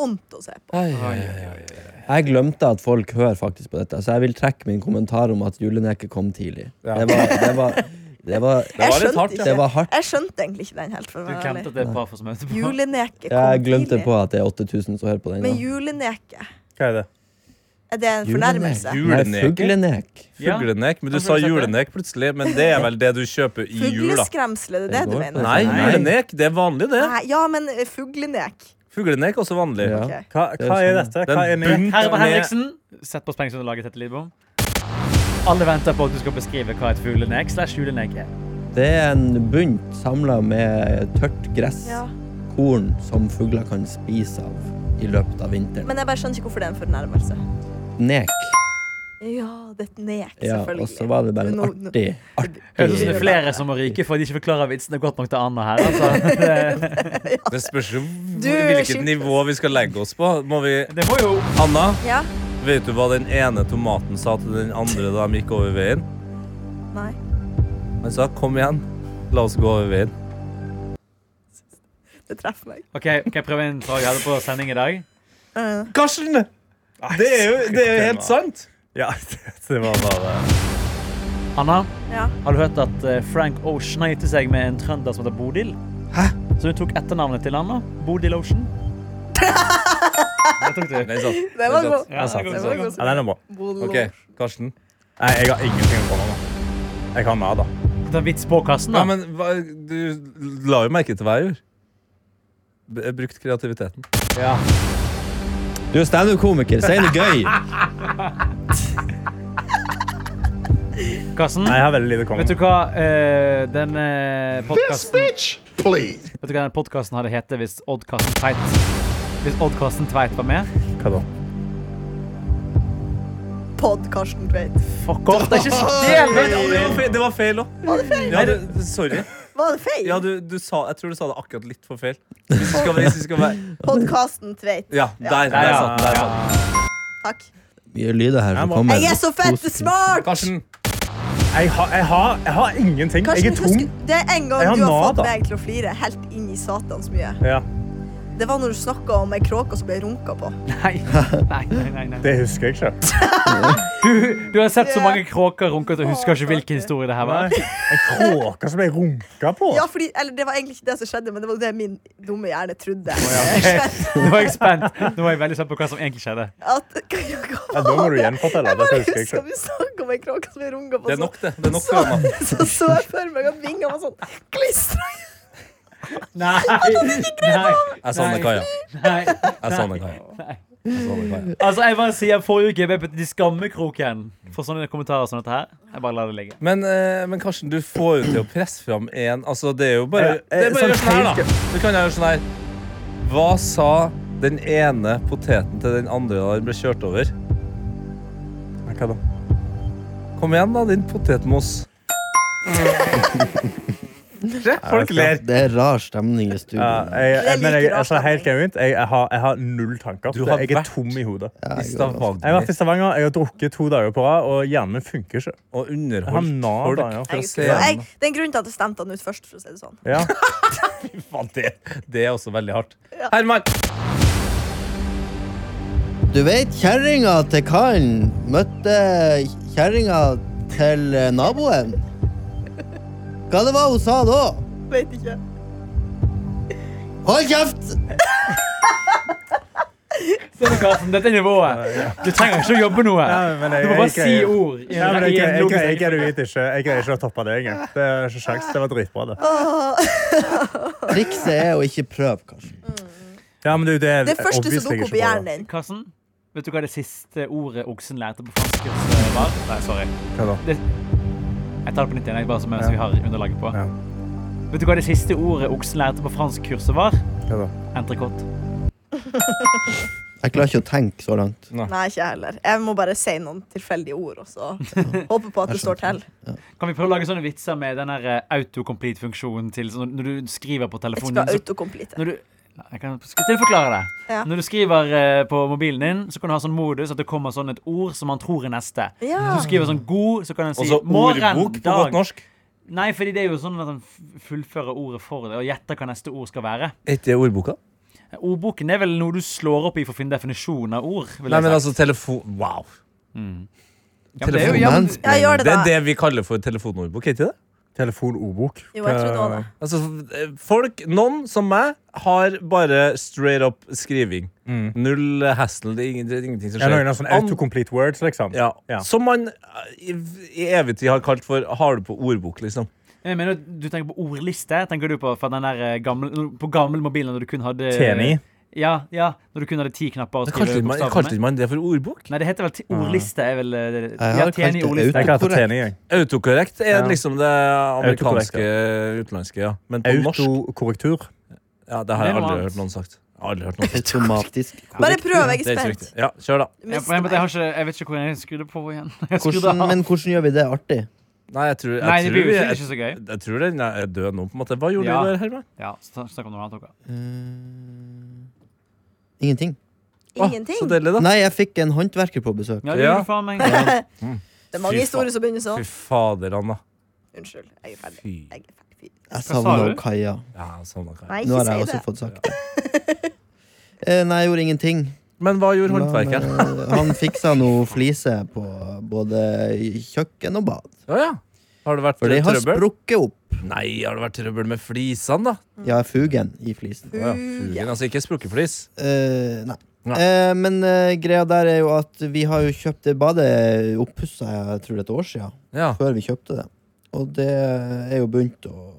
S4: vondt å se på.
S2: Ai, ai, ai.
S6: Jeg glemte at folk hører faktisk på dette, så jeg vil trekke min kommentar om at juleneket kom tidlig. Det var, det var, det var,
S2: var
S4: Jeg
S2: litt hardt, ja.
S4: skjønte,
S6: det
S4: ikke.
S6: var hardt.
S4: Jeg skjønte egentlig ikke den helt. For å
S3: Du
S4: være ærlig.
S3: glemte at det er bra for som etterpå.
S4: Juleneke kom
S6: Jeg glemte
S4: tidlig.
S6: på at det er 8000 som hører på den.
S4: Men
S6: ja.
S4: juleneke,
S5: Hva er det?
S4: er det en fornærmelse?
S2: Julenek.
S6: Nei,
S2: Juleneket?
S6: fuglenek.
S3: Ja.
S2: Fuglenek. Men du sa julenek plutselig. Men det er vel det du kjøper i jula?
S4: Fugleskremsel, er det det du
S6: går
S4: mener?
S6: for
S2: Nei,
S6: Nei.
S2: julenek. Det er vanlig, det.
S4: Nei, ja, men eh, fuglenek.
S2: Fuglenek er også vanlig.
S6: Ja.
S4: Ok.
S5: Hva,
S6: er
S5: hva er
S6: sånn.
S5: dette?
S2: Den
S5: Hva er med?
S2: bunten
S3: Herman
S2: med-
S3: Henriksen, sett på sprengsunderlaget til Tete Lidbom. Alle venter på at du skal beskrive hva et fuglenek slash julenek er.
S6: Det er en bunt samla med tørt gress,
S4: Ja.
S6: korn, som fugler kan spise av i løpet av vinteren.
S4: Men jeg bare skjønner ikke hvorfor det er en fornærmelse.
S6: Nek.
S4: Ja, det er et nek,
S6: Ja,
S4: selvfølgelig.
S6: og så var det bare en
S4: Nå- nå-
S6: artig,
S3: Høres ut
S6: artig
S3: som det er flere som må ryke fordi de ikke forklarer vitsene godt nok til Anna her. Altså. Det,
S2: Det spørs jo
S4: Du,
S2: hvilket
S4: skyt.
S2: nivå vi skal legge oss på. Må vi
S3: det må jo
S2: Anna,
S4: Ja?
S2: vet du hva den ene tomaten sa til den andre da de gikk over veien?
S4: Nei.
S2: Han sa 'kom igjen, la oss gå over veien'.
S4: Det treffer meg.
S3: OK, kan jeg prøve en sak jeg hadde på sending i dag?
S4: Eh,
S2: Karsten! Det er jo, det er jo helt sant.
S5: Ja, det var bare
S3: Anna,
S4: ja.
S3: har du hørt at eh, Frank Ocean har gitt seg med en trønder som heter Bodil? Hæ? Så hun tok etternavnet til han, da. Bodil Ocean. Det tok du.
S2: Nei, sant.
S4: Det var
S2: sant.
S4: god.
S3: Ja, det
S4: Det
S3: går
S4: var
S3: bra.
S4: god.
S5: Ja, den er bra.
S4: Bolo.
S2: OK, Karsten.
S5: Nei, jeg har ingenting å komme med. Jeg har nada.
S3: Ta en vits på kassen,
S2: Ja,
S3: da.
S2: men hva, du la jo merke til hva jeg gjorde. B- jeg Brukt kreativiteten.
S3: Ja.
S6: Du er standup-komiker, si noe gøy!
S3: Kassen?
S5: Nei, jeg har veldig lite å komme
S3: Vet
S5: med.
S3: du hva eh, den eh, podkasten Vet du hva den podkasten hadde hett hvis Odd Karsten Tveit Hvis Odd Karsten Tveit var med?
S5: Hva da?
S4: Pod Karsten Tveit.
S3: Fuck off! Det er ikke så del!
S2: Det var feil òg. Ja, du- du- sorry.
S4: Var det feil?
S2: Ja, du, du sa, jeg tror du sa det akkurat litt for feil. Hvis du skal, hvis du skal være
S4: Podkasten Tveit.
S2: Ja, der, der
S3: ja.
S2: satt den. Der satt den.
S4: Takk.
S6: Mye lyder her som kommer.
S4: Jeg er så fette smart!
S2: Karsten.
S5: Jeg har, jeg har, jeg har ingenting.
S4: Karsten,
S5: jeg er tom.
S4: husker- det er en gang
S5: Jeg har
S4: du har fått
S5: nada.
S4: meg til å flire helt inn i satans mye.
S5: Ja,
S4: Det var når du snakka om ei kråke som ble runka på.
S3: Nei, nei, nei. nei, nei.
S5: det husker jeg ikke.
S3: Du, du har sett så mange kråker runke at du husker ikke hvilken historie det her
S5: Nei.
S3: var.
S5: En kråke som jeg runka på.
S4: Ja, fordi, eller det var egentlig ikke det som skjedde, men det var det min dumme hjerne trodde.
S3: Nå er jeg spent. Nå er jeg veldig spent på hva som egentlig skjedde.
S4: At, hva, hva,
S5: Ja, da må du gjenfortelle.
S4: Jeg
S5: Dette
S4: bare
S5: husker jeg
S4: husker
S5: ikke.
S4: vi snakka om ei kråke som ble runka på. sånn-
S2: Det er nok, det. det er nok for Anna.
S4: Så, så så jeg for meg at vingene var sånn klistra
S3: Nei! Nei!
S2: Jeg savner Kaja.
S3: Nei!
S2: Jeg savner Kaja.
S3: Nei.
S2: Jeg savner Kaja.
S3: Altså, jeg bare sier forrige uke jeg ble puttet i skammekroken for sånne kommentarer som dette her. Jeg bare lar det ligge.
S2: Men, eh, men Karsten, du får jo til å presse fram en Altså, det er jo bare Det er bare å gjøre sånn her, da. Du kan gjøre sånn her. Hva sa den ene poteten til den andre da den ble kjørt over?
S5: Hva da?
S2: Kom igjen, da, din potetmos. Se, folk ler.
S6: Det er rar stemning i studio.
S5: Ja,
S6: nå.
S5: jeg, jeg, men jeg,
S4: like rar
S5: altså, helt
S4: stemning.
S5: genuint, jeg, jeg, har, jeg har null tanker.
S2: Du har
S5: jeg er
S2: vært-
S5: tom i hodet.
S6: Ja,
S2: I
S6: jeg går også.
S5: Jeg
S2: Stavanger
S5: har vært i Stavanger, jeg har drukket to dager på rad, og hjernen min funker ikke.
S2: og
S5: Jeg har
S2: underholdt
S5: nada,
S2: folk
S5: ja.
S2: fra
S4: Jeg, så jeg,
S2: scenen.
S4: det er en grunn til at jeg stemte han ut først. For å si det sånn.
S5: Ja.
S2: Faen, Det, det er også veldig hardt. Herman!
S6: Du vet kjerringa til karen møtte kjerringa til eh, naboen? Hva det var hun sa da?
S4: Vet ikke.
S6: Hold kjeft!
S3: Ser du, Karsten, dette er nivået. Du trenger ikke å jobbe noe.
S5: Ja, men jeg-
S3: Du må bare
S5: jeg
S3: si
S5: greier-
S3: ord. i en-
S5: Ja, men jeg
S3: i en
S5: greier- jeg
S3: logisk-
S5: greier- jeg greier ikke- jeg greier ikke å toppe det engang. Det er ikke sjans. Det var dritbra, det.
S6: Trikset er å ikke prøve, kanskje.
S5: Ja, men du, det, er
S4: Det første som
S5: obviously
S4: dukker
S5: ikke
S4: opp
S5: bra,
S4: i
S5: da.
S4: hjernen din.
S3: Karsten, vet du hva det siste ordet oksen lærte på franskkurs var? Nei, sorry.
S5: Hva da?
S3: Det, jeg tar det på nytt igjen, jeg bare som mens
S5: Ja.
S3: vi har underlaget på.
S5: Ja.
S3: Vet du hva det siste ordet oksen lærte på franskkurset var?
S5: Hva da?
S3: Entrecôte.
S6: Jeg klarer ikke å tenke så langt.
S4: Nei, ikke jeg heller. Jeg må bare si noen tilfeldige ord, og så håpe på at det står til.
S3: Kan vi prøve å lage sånne vitser med den der eh, autocomplete-funksjonen til sånn når du skriver på
S4: Jeg
S3: telefonen
S4: skal
S3: din? så-
S4: autocomplete.
S3: Når du, Ja, jeg kan skal til å forklare det.
S4: Ja.
S3: Når du skriver eh, på mobilen din, så kan du ha sånn modus at det kommer sånn et ord som man tror er neste.
S4: Ja.
S3: Hvis du skriver sånn god, så kan den si
S2: Også
S3: morgen,
S2: ordbok på
S3: dag.
S2: godt norsk.
S3: Nei, fordi det er jo sånn at han f- fullfører ordet for det og gjetter hva neste ord skal være.
S2: Er ikke det ordboka?
S3: Ordboken er vel noe du slår opp i for å finne definisjonen av ord. Vil
S2: Nei,
S3: jeg
S2: men
S3: si.
S2: altså, telefon... Wow.
S5: Mm.
S3: ja, men det er jo, ja, men,
S6: Romance.
S4: Ja, gjør det,
S2: Det
S4: da.
S2: er det vi kaller for telefonordbok, er ikke det?
S5: Telefonordbok.
S4: Jo, jeg tror det var det.
S2: Altså, eh, folk, noen som meg, har bare straight up skriving.
S5: Mm.
S2: Null eh, hassle, det er ingen- det er ingenting som
S5: Ja,
S2: skjer.
S5: noen av sånne
S2: An-
S5: autocomplete words, liksom.
S2: ja.
S5: Ja.
S2: Som man eh, i, i evig tid har kalt for har du på ordbok, liksom.
S3: jeg mener, du tenker på ordliste. Tenker du på, fra den der eh, gamle, på gammel mobil når du kun hadde
S5: Teni.
S3: Ja, ja, når du kun hadde ti knapper å
S2: Da
S3: skrive
S2: Kalte man, kalte
S3: bokstavene med.
S2: man det for ordbok?
S3: Nei, det heter vel ti- ordliste. Er vel, eh, det-
S6: har
S3: ja,
S6: kalt
S3: teni
S6: det
S3: ordliste.
S5: Jeg kalte det teni, jeg.
S2: Autokorrekt er
S5: Ja.
S2: liksom det
S5: Autokorrekt,
S2: amerikanske utenlandske, ja. Men på norsk
S5: Autokorrektur.
S2: ja, Det har
S3: Det er
S2: jeg
S3: noe
S2: aldri
S3: annet.
S2: hørt noen sagt. Jeg har Aldri hørt noen.
S6: Automatisk.
S4: Bare prøv, jeg
S2: Det er
S4: er
S2: ikke
S4: spent.
S2: riktig. Ja, kjør, da.
S4: Du
S3: Jeg,
S4: mister
S3: jeg, jeg,
S4: meg.
S3: har ikke, jeg vet ikke hvor jeg skrudde på igjen. Jeg skrudde
S6: Hvordan,
S3: av.
S6: men hvordan gjør vi det artig?
S2: Nei, jeg tror, jeg
S3: Nei, det blir jo
S2: tror,
S3: sikkert
S2: jeg,
S3: ikke så gøy.
S2: jeg tror den er død nå, på en måte. Hva gjorde
S3: Ja.
S2: du der, Herman?
S3: Ja, snak- Snakk om noe annet. dere.
S6: Eh, Ingenting.
S2: Å,
S4: Ingenting.
S2: Så deilig, da.
S6: Nei, jeg fikk en håndverker på besøk.
S3: Ja, det
S2: Ja.
S3: gjorde du faen meg.
S4: Det er mange
S2: Fy
S4: historier som begynner sånn.
S2: Fy fader, Anna.
S4: Unnskyld. Jeg er ferdig.
S2: Fy.
S4: Jeg er ferdig.
S6: Jeg
S3: sa
S6: savna
S3: du?
S6: Kaja.
S2: Ja, sånn er det.
S4: Nei,
S6: Nå
S4: ikke
S6: har jeg
S4: si
S6: også
S4: det.
S6: fått sagt det. Eh, Nei, jeg gjorde ingenting.
S2: Men hva gjorde håndverkeren?
S6: Men, eh, han fiksa noe flise på både kjøkken og bad.
S2: Å ja. Har det vært
S6: For de
S2: eh,
S6: har
S2: trøbbel?
S6: sprukket opp.
S2: Nei, har det vært trøbbel med flisene, da?
S6: Ja, fugen i flisen.
S4: Uh,
S2: Å ja, fugen. Altså ikke sprukkeflis.
S6: Eh, nei.
S2: Nei.
S6: Eh, men eh, greia der er jo at vi har jo kjøpt det badet oppussa jeg tror det er et år siden.
S2: Ja.
S6: Før vi kjøpte det. Og det er jo begynt å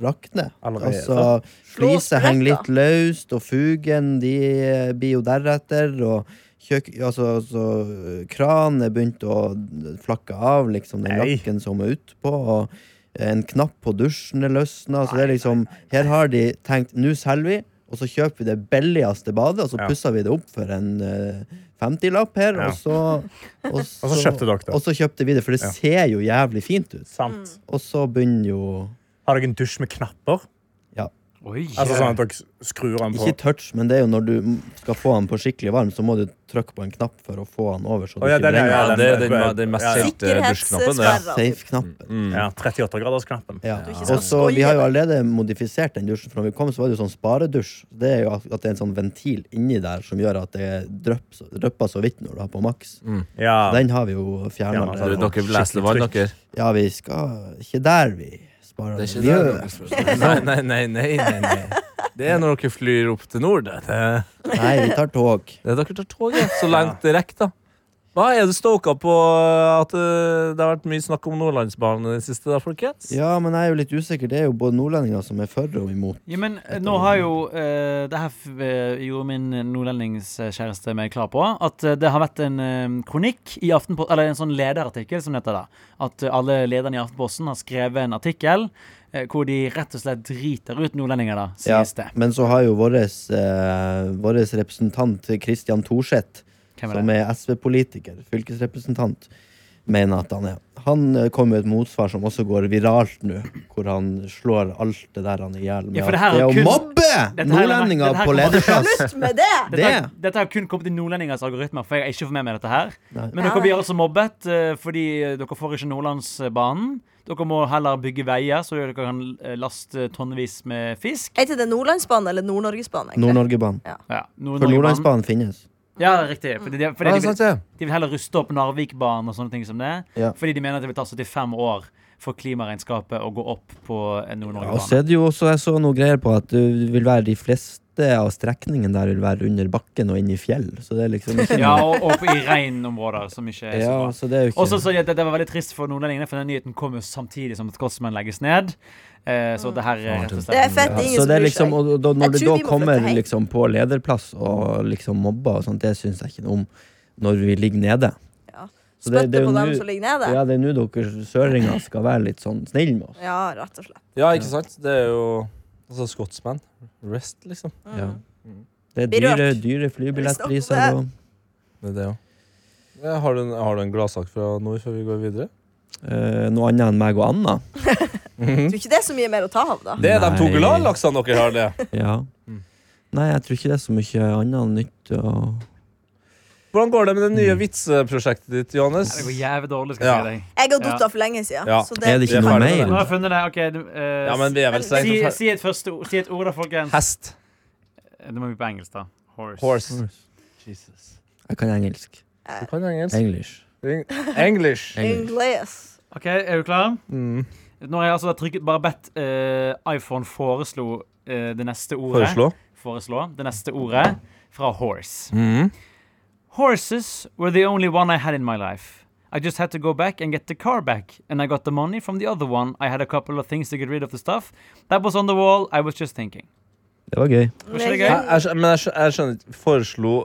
S6: rakne.
S5: Allerede.
S6: Altså,
S4: Slå
S6: Fliser henger
S4: sprekker.
S6: litt løst, og fugen de eh, blir jo deretter. Og kjøk, altså, så, eh, kranen er begynt å flakke av, liksom, den
S5: Nei.
S6: lakken som er utpå. Og en knapp på dusjen er løsna. Så det er liksom, her har de tenkt nå selger vi, og så kjøper vi det billigste badet, og så
S5: Ja.
S6: pusser vi det opp for en eh, 50-lapp her,
S5: Ja.
S6: og, så, og, så,
S5: Og så kjøpte dere det.
S6: Og så kjøpte vi det, for det
S5: Ja.
S6: ser jo jævlig fint ut.
S5: Sant.
S4: Mm.
S6: Og så begynner jo
S5: Har dere en dusj med knapper?
S3: Oi.
S5: Altså sånn at dere skrur den på?
S6: Ikke touch, men det er jo når du m- skal få den på skikkelig varm, så må du trykke på en knapp for å få den over. Så
S5: Å,
S6: du
S5: ja,
S6: ikke
S5: den er-
S6: brenner.
S2: Ja,
S5: den-
S2: det er den, den mest
S5: Ja, ja.
S2: kjente dusjknappen. Ja.
S4: Sikkerhetssperra.
S6: Safe-knappen.
S2: Mm.
S5: Ja, 38-gradersknappen.
S6: Ja.
S4: du ikke skal
S6: Og så Vi
S4: skåle
S6: har jo
S4: deg.
S6: allerede modifisert den dusjen. For når vi kom, så var det jo sånn sparedusj. Det er jo at at det er en sånn ventil inni der som gjør at det drypper så- drypper så vidt når du har på maks.
S5: Mm. Ja.
S6: Den har vi jo
S5: Ja,
S6: fjerna.
S5: men
S2: Du, dere leser vann, dere.
S6: Ja, vi skal Ikke der vi sparer
S2: Det er
S6: den.
S2: ikke
S6: Vi
S2: det.
S6: gjør-
S2: dere- Nei, nei, nei, nei, nei, nei. Det er når dere flyr opp til nord. Det, det
S6: Nei, vi tar tog.
S2: det er dere tar toget. Så langt det rekker, da. Hva Er du stoka på at eh, det har vært mye snakk om Nordlandsbanen i det siste, da, folkens?
S6: Ja, men jeg er jo litt usikker. Det er jo både nordlendinger som er for og imot.
S3: Ja, men eh, nå har jo eh, Det her f- eh, gjorde min nordlendingskjæreste meg klar på. At eh, det har vært en eh, kronikk i Aftenposten Eller en sånn lederartikkel som det heter da. At eh, alle lederne i Aftenposten har skrevet en artikkel eh, hvor de rett og slett driter ut nordlendinger, da,
S6: Ja,
S3: sies det.
S6: men så har jo vår eh, representant eh, Christian Thorseth,
S3: Hvem er
S6: som
S3: det?
S6: er SV-politiker, fylkesrepresentant, mener at han er. Han eh, kom med et motsvar som også går viralt nå, hvor han slår alt det der han er i hjel med.
S3: Ja, for det
S6: at
S3: her er
S6: å
S3: kunst-
S6: mobbe
S3: Dette her er-
S6: nordlendinger
S3: dette her
S6: på
S3: kommer-
S6: lederplass!
S4: Slutt med det!
S6: Det
S3: Dette, dette har kun kommet i nordlendingers algoritmer, for jeg har ikke fått med meg dette her.
S6: Nei.
S3: Men dere blir altså mobbet eh, fordi dere får ikke Nordlandsbanen. Dere må heller bygge veier, så dere kan eh, laste tonnevis med fisk.
S4: Heter det Nordlandsbanen eller Nord-Norgesbanen? egentlig?
S6: Nord-Norgebanen.
S3: Ja,
S6: For Nordlandsbanen finnes.
S3: Ja, riktig. Fordi de, fordi
S2: Ja,
S3: de,
S2: sant
S3: vil,
S2: det?
S3: de vil heller ruste opp Narvikbanen og sånne ting som det.
S6: Ja.
S3: Fordi de mener at det vil ta 75 år for klimaregnskapet å gå opp på eh, en
S6: Ja, og
S3: Nord-Norge-bane.
S6: så er det jo også, jeg så noe greier på at det vil være de fleste av strekningene der vil være under bakken og inn i fjell. Så det er liksom ikke
S3: Ja, og, og på- i reinområder, som ikke er så
S6: Ja,
S3: bra.
S6: så det er jo ikke
S3: Og så sa de at dette var veldig trist for nordlendingene, for den nyheten kom jo samtidig som at Gossman legges ned. Eh, så det her er rett og slett
S4: Det er fett.
S6: ja,
S4: ingen
S6: så
S4: som
S6: det er
S4: bryr
S6: liksom,
S4: seg.
S6: og, og da,
S4: Jeg
S6: når det
S4: tror
S6: da
S4: vi må
S6: kommer
S4: flytte hjem.
S6: liksom på lederplass og liksom mobber og sånt, det syns jeg ikke noe om når vi ligger nede.
S4: Ja.
S6: Så det, det
S4: Spytte
S6: er
S4: på
S6: jo
S4: dem
S6: nå-
S4: som ligger nede?
S6: ja, det er nå dere søringer skal være litt sånn snille med oss.
S4: Ja, rett og slett.
S2: Ja, ikke sant? Det er jo altså, Scotsman. Rest, liksom.
S4: Mm.
S6: Ja. Det er
S4: Berørt.
S6: dyre, dyre flybillettpriser. Og,
S2: Det er det, jo. Ja, har, du en, har du en gladsak fra nord før vi går videre?
S6: eh, noe annet enn meg og Anna.
S4: Tror ikke det er så mye mer å ta av, da.
S2: Det er de to
S6: Nei.
S2: gladlaksene dere har, det.
S6: Ja.
S3: Mm.
S6: Nei, jeg tror ikke det er så mye annet nytt å
S2: Hvordan går det med det nye vitseprosjektet ditt, Johannes?
S3: Ja, Det går jævlig dårlig, skal jeg si deg.
S4: Jeg har datt
S3: Ja.
S4: av for lenge siden.
S2: Ja.
S4: Så
S6: Er det
S2: vi er
S6: ikke noe
S2: ferdig med
S3: Nå har
S6: mer?
S3: jeg funnet det. OK. du, eh,
S2: Ja, men vi er vel strengt
S3: si,
S2: tatt her-
S3: si, et første, ord- si et ord, da, folkens.
S2: Hest.
S3: Det må vi på engelsk, da. Horse.
S2: Horse.
S6: Jeg kan engelsk.
S2: Du kan engelsk.
S6: English.
S2: English.
S6: English.
S4: Ingles.
S3: OK, er du klar?
S2: Mm.
S3: Nå har jeg altså trykket, bare bedt eh, iPhone foreslå eh, det neste ordet.
S2: Foreslå.
S3: Foreslå det neste ordet fra horse.
S2: Mm.
S3: Horses were the only one I had in my life. I just had to go back and get the car back, and I got the money from the other one. I had a couple of things to get rid of the stuff that was on the wall. I was just thinking.
S6: Det var gøy.
S3: Var ikke
S2: Jeg,
S3: det gøy?
S2: jeg, skjø- men jeg, skjø- jeg skjønner ikke Foreslo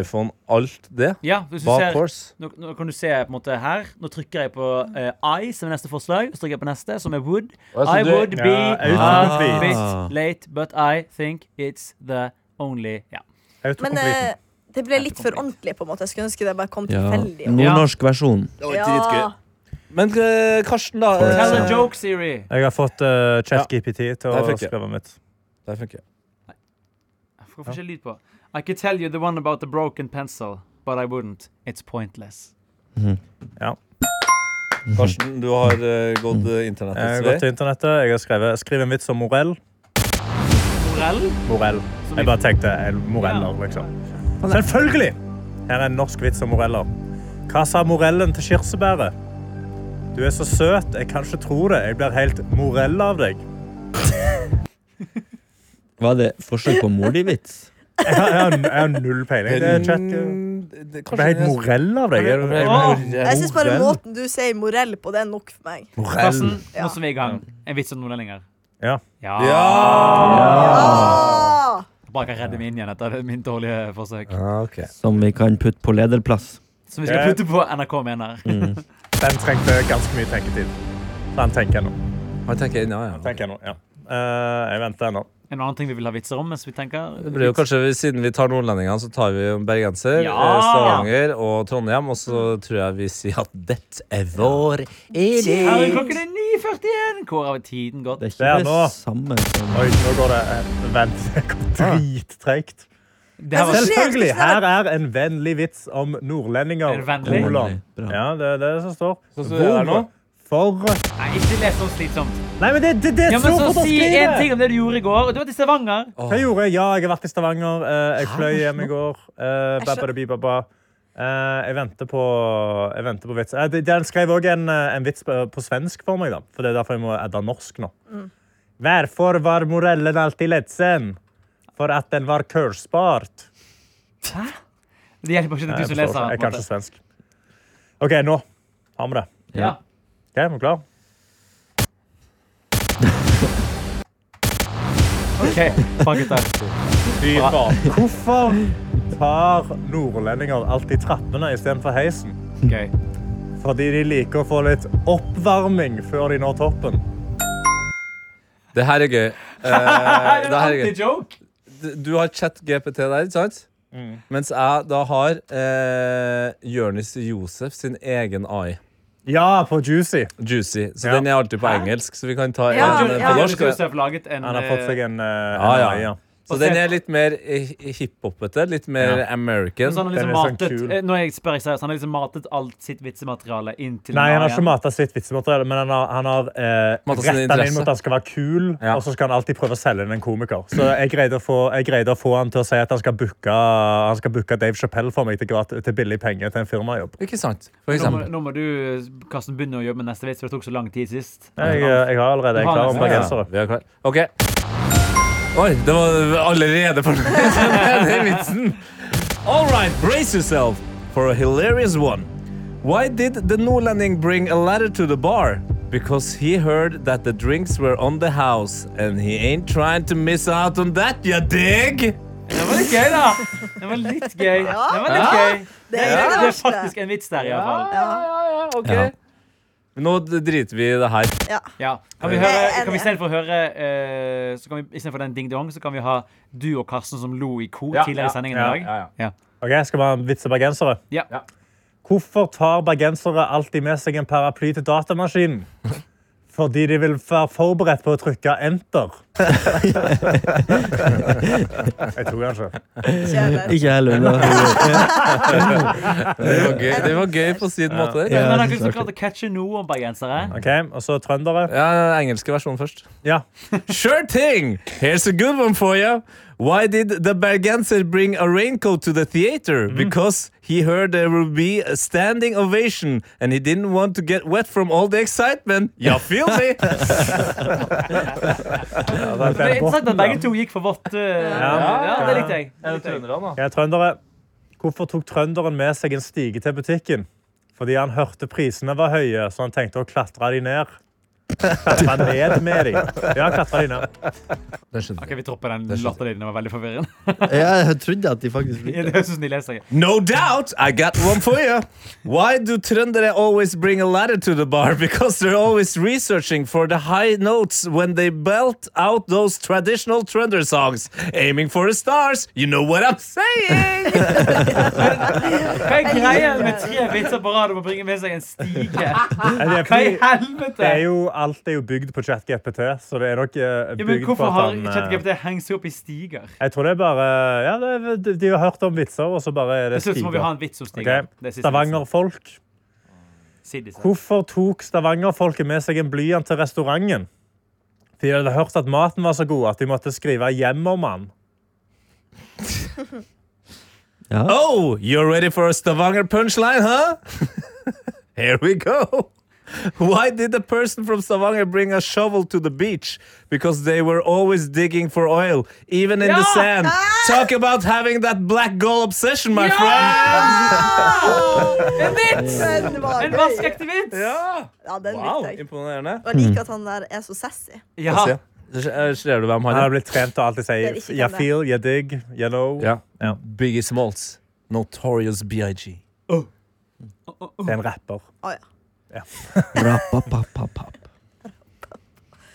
S2: iPhone alt det?
S3: Ja, hvis du
S2: Bak
S3: ser,
S2: horse?
S3: nå, nå kan du se på en måte her. Nå trykker jeg på eh, I, som er neste forslag. Så trykker jeg på neste, som er would.
S2: Altså,
S3: I
S2: du-
S3: would be
S5: Ja,
S3: a
S5: autocomplete.
S3: bit late, but I think it's the only Ja.
S4: Men eh, det ble litt for ordentlig, på en måte. Jeg skulle ønske det bare kom tilfeldig.
S6: Nordnorsk versjon.
S7: Det var dritgøy.
S4: Ja.
S2: Men eh, Karsten, da.
S6: Foreslo.
S3: Tell a
S2: eh,
S3: joke, Siri.
S5: Jeg har fått uh, ChatGPT til
S2: Nei,
S5: å
S2: jeg fikk ikke.
S5: skrive mitt.
S2: Der funker jeg.
S3: Hvorfor får ikke lyd på? I could tell you the one about the broken pencil, but I wouldn't. It's pointless.
S2: Karsten, du har eh, gått eh,
S5: Jeg har
S2: internettets vei.
S5: gått til internettet. Jeg har skrevet Skriv en vits om Morell.
S3: Morell?
S5: Morell. Jeg bare tenkte eh, moreller,
S3: Ja.
S5: liksom. Selvfølgelig! Her er en norsk vits om moreller. Hva sa morellen til kirsebæret? Du er så søt, jeg kan ikke tro det. Jeg blir helt morell av deg.
S6: Var det forsøk på mordivits?
S5: Jeg har, jeg har, jeg har null peiling. Det er chat. Jeg
S2: Mm, det-
S5: blir helt
S2: det-
S5: morell av deg. Jeg, jeg,
S4: Jeg syns bare
S2: Morell.
S4: måten du sier morell på, det er nok for meg.
S5: morell.
S3: Karsten,
S4: Ja.
S3: nå som vi er i gang. En vits om nordlendinger.
S5: Ja.
S3: Ja.
S4: Ah!
S3: Bare kan redde meg inn igjen etter min dårlige forsøk.
S2: Ah, ok.
S6: Som vi kan putte på lederplass.
S3: Som vi skal putte på NRK mener.
S2: Mm.
S5: Den trengte ganske mye tenketid. Den tenker jeg nå.
S2: Han tenker inn, ja, ja.
S5: Tenker jeg, nå. Ja. Eh, jeg venter ennå.
S3: En annen ting vi vil ha vitser om mens vi tenker.
S2: Det blir jo kanskje, Siden vi tar nordlendingene, så tar vi jo bergenser,
S3: Ja!
S2: eh, Stavanger og Trondheim. Og så tror jeg vi sier at dette er vår
S3: Her er
S2: idé.
S3: klokken er 9.41! Hvor har tiden gått?
S6: Det er
S5: Der
S6: ikke
S5: nå.
S6: det samme som
S5: Oi, nå går det eh, Vent, det går drittreigt.
S3: Ah. Det her var
S5: Selvfølgelig! Her er en vennlig vits om nordlendinger.
S3: En vennlig?
S5: Kolon.
S6: Bra.
S5: Ja, det er det som står.
S2: Sånn som det er nå?
S5: For
S3: Nei, ikke les så slitsomt.
S5: Nei, men det, det, det
S3: Ja, men
S5: står
S3: så
S5: på
S3: Si
S5: dere
S3: en
S5: skriver.
S3: ting om det du gjorde i går. Du var til Stavanger.
S5: Hva jeg gjorde jeg? Ja, jeg har vært i Stavanger. eh, Jeg fløy hjem i går. eh, babadabibaba. Eh, Jeg venter på, jeg venter på vits. Eh, det- Den skrev òg en, eh, en vits på, på svensk for meg, da. For det er derfor jeg må adde norsk nå.
S3: Mm.
S5: Hvorfor var morellen alltid ledsen? Eh, For at den var kursbart.
S3: Det
S5: Nei,
S3: hjelper ikke at du
S5: Jeg,
S3: som
S5: forstår ikke.
S3: leser. den,
S5: jeg
S3: på en
S5: kan ikke
S3: måte.
S5: svensk. OK, nå har vi det.
S3: Ja.
S5: OK, er vi klar?
S3: OK. Bra, gutter.
S5: Fy faen. Hvorfor tar nordlendinger alltid trappene istedenfor heisen?
S3: Gøy.
S5: Fordi de liker å få litt oppvarming før de når toppen.
S2: Det her er gøy. Eh, det her er gøy.
S3: Anti-joke.
S2: D- Du har chat-GPT der, ikke sant?
S5: Mm.
S2: Mens jeg da har eh, Jonis Josef sin egen AI.
S5: Ja, på Juicy.
S2: Juicy. Så
S5: Ja.
S2: den er alltid på engelsk, så vi kan ta
S4: Ja,
S2: en eh,
S4: ja.
S2: på norsk.
S3: Josef har laget en
S5: Han har fått seg
S3: eh,
S5: en, eh, en
S2: ja.
S5: AI, ja.
S2: Så den er litt mer eh, hiphopete. Litt mer American.
S3: så han har
S5: Den
S3: liksom
S5: er sånn
S3: matet,
S5: kul.
S3: eh, nå er jeg spør jeg seriøst, han har liksom matet alt sitt vitsemateriale inn til
S5: Nei, han har
S3: Marian.
S5: ikke mata sitt vitsemateriale, men han har, han har eh,
S2: Matet sin
S5: rettet den inn
S2: interesse.
S5: mot at han skal være kul,
S2: Ja.
S5: og så skal han alltid prøve å selge inn en komiker. Så jeg greide å få, jeg greide å få han til å si at han skal booke, han skal booke Dave Chappelle for meg til, grat- til billig penge til en firmajobb.
S2: Ikke sant? For
S3: Nå må,
S2: eksempel.
S3: nå må du eh, Karsten, begynne å jobbe med neste vits, for det tok så lang tid sist.
S5: Jeg, eh, jeg har allerede, jeg er klar om bergensere.
S2: Vi er klar. OK. Oi, det var allerede for den vitsen. All right, brace yourself for a hilarious one. Why did the nordlending bring a ladder to the bar? Because he heard that the drinks were on the house, and he ain't trying to miss out on that, you dig?
S3: Det var litt gøy, da! Det var litt gøy. Det var litt gøy. Det er,
S4: Det er ikke det
S3: det er
S4: verste.
S3: faktisk en vits der, iallfall.
S2: Ja. Nå driter vi i det her.
S3: Ja. Kan vi,
S2: Jeg
S4: er
S3: høre, kan vi
S4: enig.
S3: istedenfor å høre eh, så kan vi, Istedenfor den ding-dong, så kan vi ha du og Karsten som lo i kor
S2: Ja,
S3: tidligere
S2: ja,
S3: i sendingen
S5: ja,
S3: i dag.
S5: Ok, Skal vi ha en vits om bergensere?
S3: Ja.
S5: Hvorfor tar bergensere alltid med seg en paraply til datamaskinen? Fordi de vil være forberedt på å trykke enter. jeg tror kanskje.
S4: Kjære.
S6: Ikke heller. da.
S2: Det var gøy, det var gøy på sin måte.
S6: Ja.
S3: Men han har
S6: jeg synes
S3: liksom
S6: det er
S3: klart å catche noe om bergensere.
S5: Ok, Og så trøndere.
S2: Ja, engelske versjon først.
S5: Ja.
S2: Sure thing! Here's a good one for you. Why did the Bergenser bring a raincoat to the theater? Because he heard there would be a standing ovation, and he didn't want to get wet from all the excitement. You feel me?
S5: ja det er
S3: Det er
S5: Bent
S3: interessant
S5: Borten,
S3: at begge to gikk for vått. eh, ja, det likte jeg. Det likte jeg.
S5: da. Ok, trøndere. Hvorfor tok trønderen med seg en stige til butikken? Fordi han hørte prisene var høye, så han tenkte å klatre de ned. Klatre ned med de. Ja, klatre de ned.
S3: Ok, Vi dropper den latteren din. Den var veldig forvirrende.
S6: Jeg trodde at de faktisk
S3: Ja, Det høres ut som de leser.
S2: No doubt, I got one for you. Why do Trøndere always bring a ladder to the bar? Because they're always researching for the high notes when they belt out those traditional Trønder songs, aiming for the stars. You know what I'm saying?
S3: Hva er greia med tre vitser på rad om å bringe med seg en stige?
S5: Nei, det er
S3: Hva i
S5: fordi- Det
S3: helvete?
S5: er jo, alt er jo bygd på ChatGPT, så det er nok eh,
S3: Ja, men
S5: bygd på
S3: hvorfor
S5: at
S3: har
S5: han eh,
S3: ChatGPT hengt seg opp i stiger?
S5: Jeg tror det er bare Ja, det er, de- de har hørt om vitser, og så bare er det
S3: Dessuten må vi ha en vits om stiger.
S5: Ok. Stavangerfolk. Hvorfor tok stavangerfolket med seg en blyant til restauranten? For de hadde hørt at maten var så god at de måtte skrive hjem om den.
S2: Oh, you're ready for a Stavanger punchline, huh? Here we go. Why did the person from Stavanger bring a shovel to the beach? Because they were always digging for oil, even in the sand.
S4: Ah!
S2: Talk about having that black goal obsession, my friend.
S3: En vits!
S4: Ah! Den var
S3: En
S4: gøy.
S3: vaskeekte vits!
S4: Ja, den
S2: Wow,
S4: likte jeg.
S2: imponerende.
S4: Og jeg liker at han der er så sassy.
S3: Ja.
S2: Se. Eh, Ser du hvem han
S5: Han har
S2: er?
S5: blitt trent til å alltid
S4: Det er ikke
S5: si
S4: den
S5: «Jeg
S4: der.
S5: feel, jeg digg, jeg know».
S2: Ja.
S5: Ja.
S2: Biggie Smalls. Notorious BIG.
S5: Det er en rapper.
S4: Å, ja.
S6: Rapapapapap.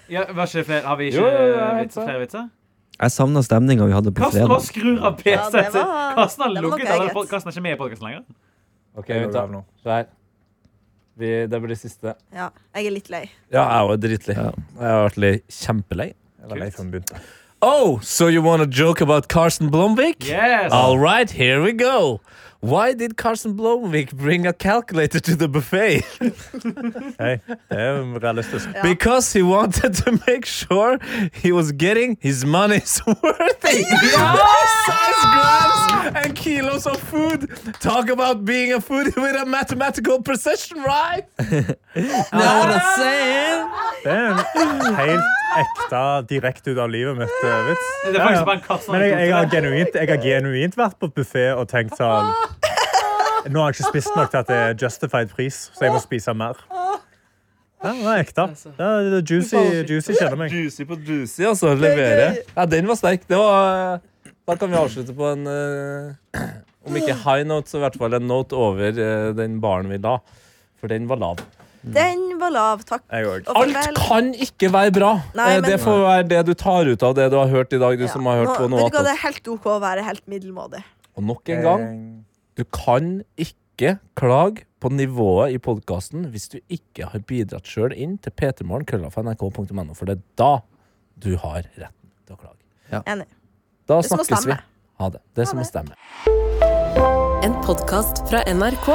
S3: ja var ikke det flere? Har vi ikke
S2: Jo, jo, jo,
S3: eh,
S2: jeg
S3: vitser,
S2: vet det.
S3: flere vitser?
S6: Jeg savna stemninga vi hadde på
S3: Karsten bare
S6: fredag.
S3: skrur av
S4: Ja, det
S3: PC-en sin.
S4: var-
S3: Karsten har
S4: det var nok
S3: lukket alle
S4: eget.
S3: pod- Karsten er ikke med i podkasten lenger.
S2: Ok,
S5: Jeg går av nå.
S2: det blir siste.
S4: ja. Jeg er litt lei.
S2: Ja, jeg var dritlei. Jeg har vært lei- kjempelei.
S5: Jeg var lei for den begynte.
S2: Oh, so you want to joke about Carson Blomvik?
S3: Yes!
S2: All right, here we go. Why did Carson Blomvik bring a calculator to the buffet?
S5: Hei, det er jo realistisk.
S4: Ja.
S2: Because he wanted to make sure he was getting his money's worth. Size grams and kilos of food. Talk about being a foodie with a mathematical precision, right?
S6: Know what I'm saying?
S5: Det er en helt ekte direkte ut av livet mitt-vits.
S3: Det er faktisk bare en katt som
S5: Men jeg, jeg, har
S3: tok det.
S5: genuint, jeg har genuint vært på buffé og tenkt sånn Nå har jeg ikke spist nok til at det er justified pris, så jeg må spise mer. Ja, det er ekte. Ja, det er juicy, juicy kjenner meg.
S2: Juicy på juicy, altså. Levere. Ja, den var sterk. Det var Da kan vi avslutte på en eh, Om ikke high note, så i hvert fall en note over eh, den baren vi la. For den var lav.
S4: Den var lav, takk.
S5: Jeg òg.
S4: Og
S2: Alt
S4: farvel.
S2: kan ikke være bra!
S4: Nei,
S2: Eh,
S4: men-
S2: det får være det du tar ut av det du har hørt i dag. Du
S4: Ja.
S2: som har hørt
S4: Nå-
S2: på noe
S4: Vet du hva,
S2: annet.
S4: det er helt OK å være helt middelmådig.
S2: Og nok en gang, du kan ikke klage på nivået i podkasten hvis du ikke har bidratt sjøl inn til p3morgen.krøllalfa.nrk.no, for det er da du har retten til å klage.
S4: Enig.
S2: Da
S4: Det er som å
S2: snakkes vi.
S4: stemme.
S2: Ha det. Det er som å stemme.
S10: En podkast fra NRK.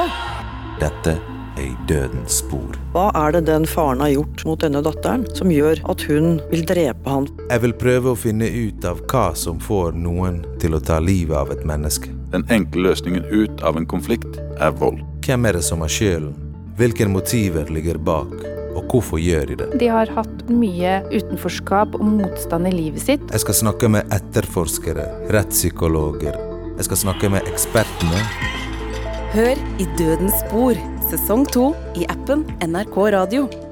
S11: Dette er i dødens spor.
S12: Hva er det den faren har gjort mot denne datteren som gjør at hun vil drepe han?
S11: Jeg vil prøve å finne ut av hva som får noen til å ta livet av et menneske.
S13: Den enkle løsningen ut av en konflikt er vold.
S11: Hvem er det som har skylden? Hvilke motiver ligger bak? Og hvorfor gjør de det?
S14: De har hatt mye utenforskap og motstand i livet sitt.
S11: Jeg skal snakke med etterforskere, rettspsykologer. Jeg skal snakke med ekspertene.
S10: Hør i Dødens spor, sesong to i appen NRK Radio.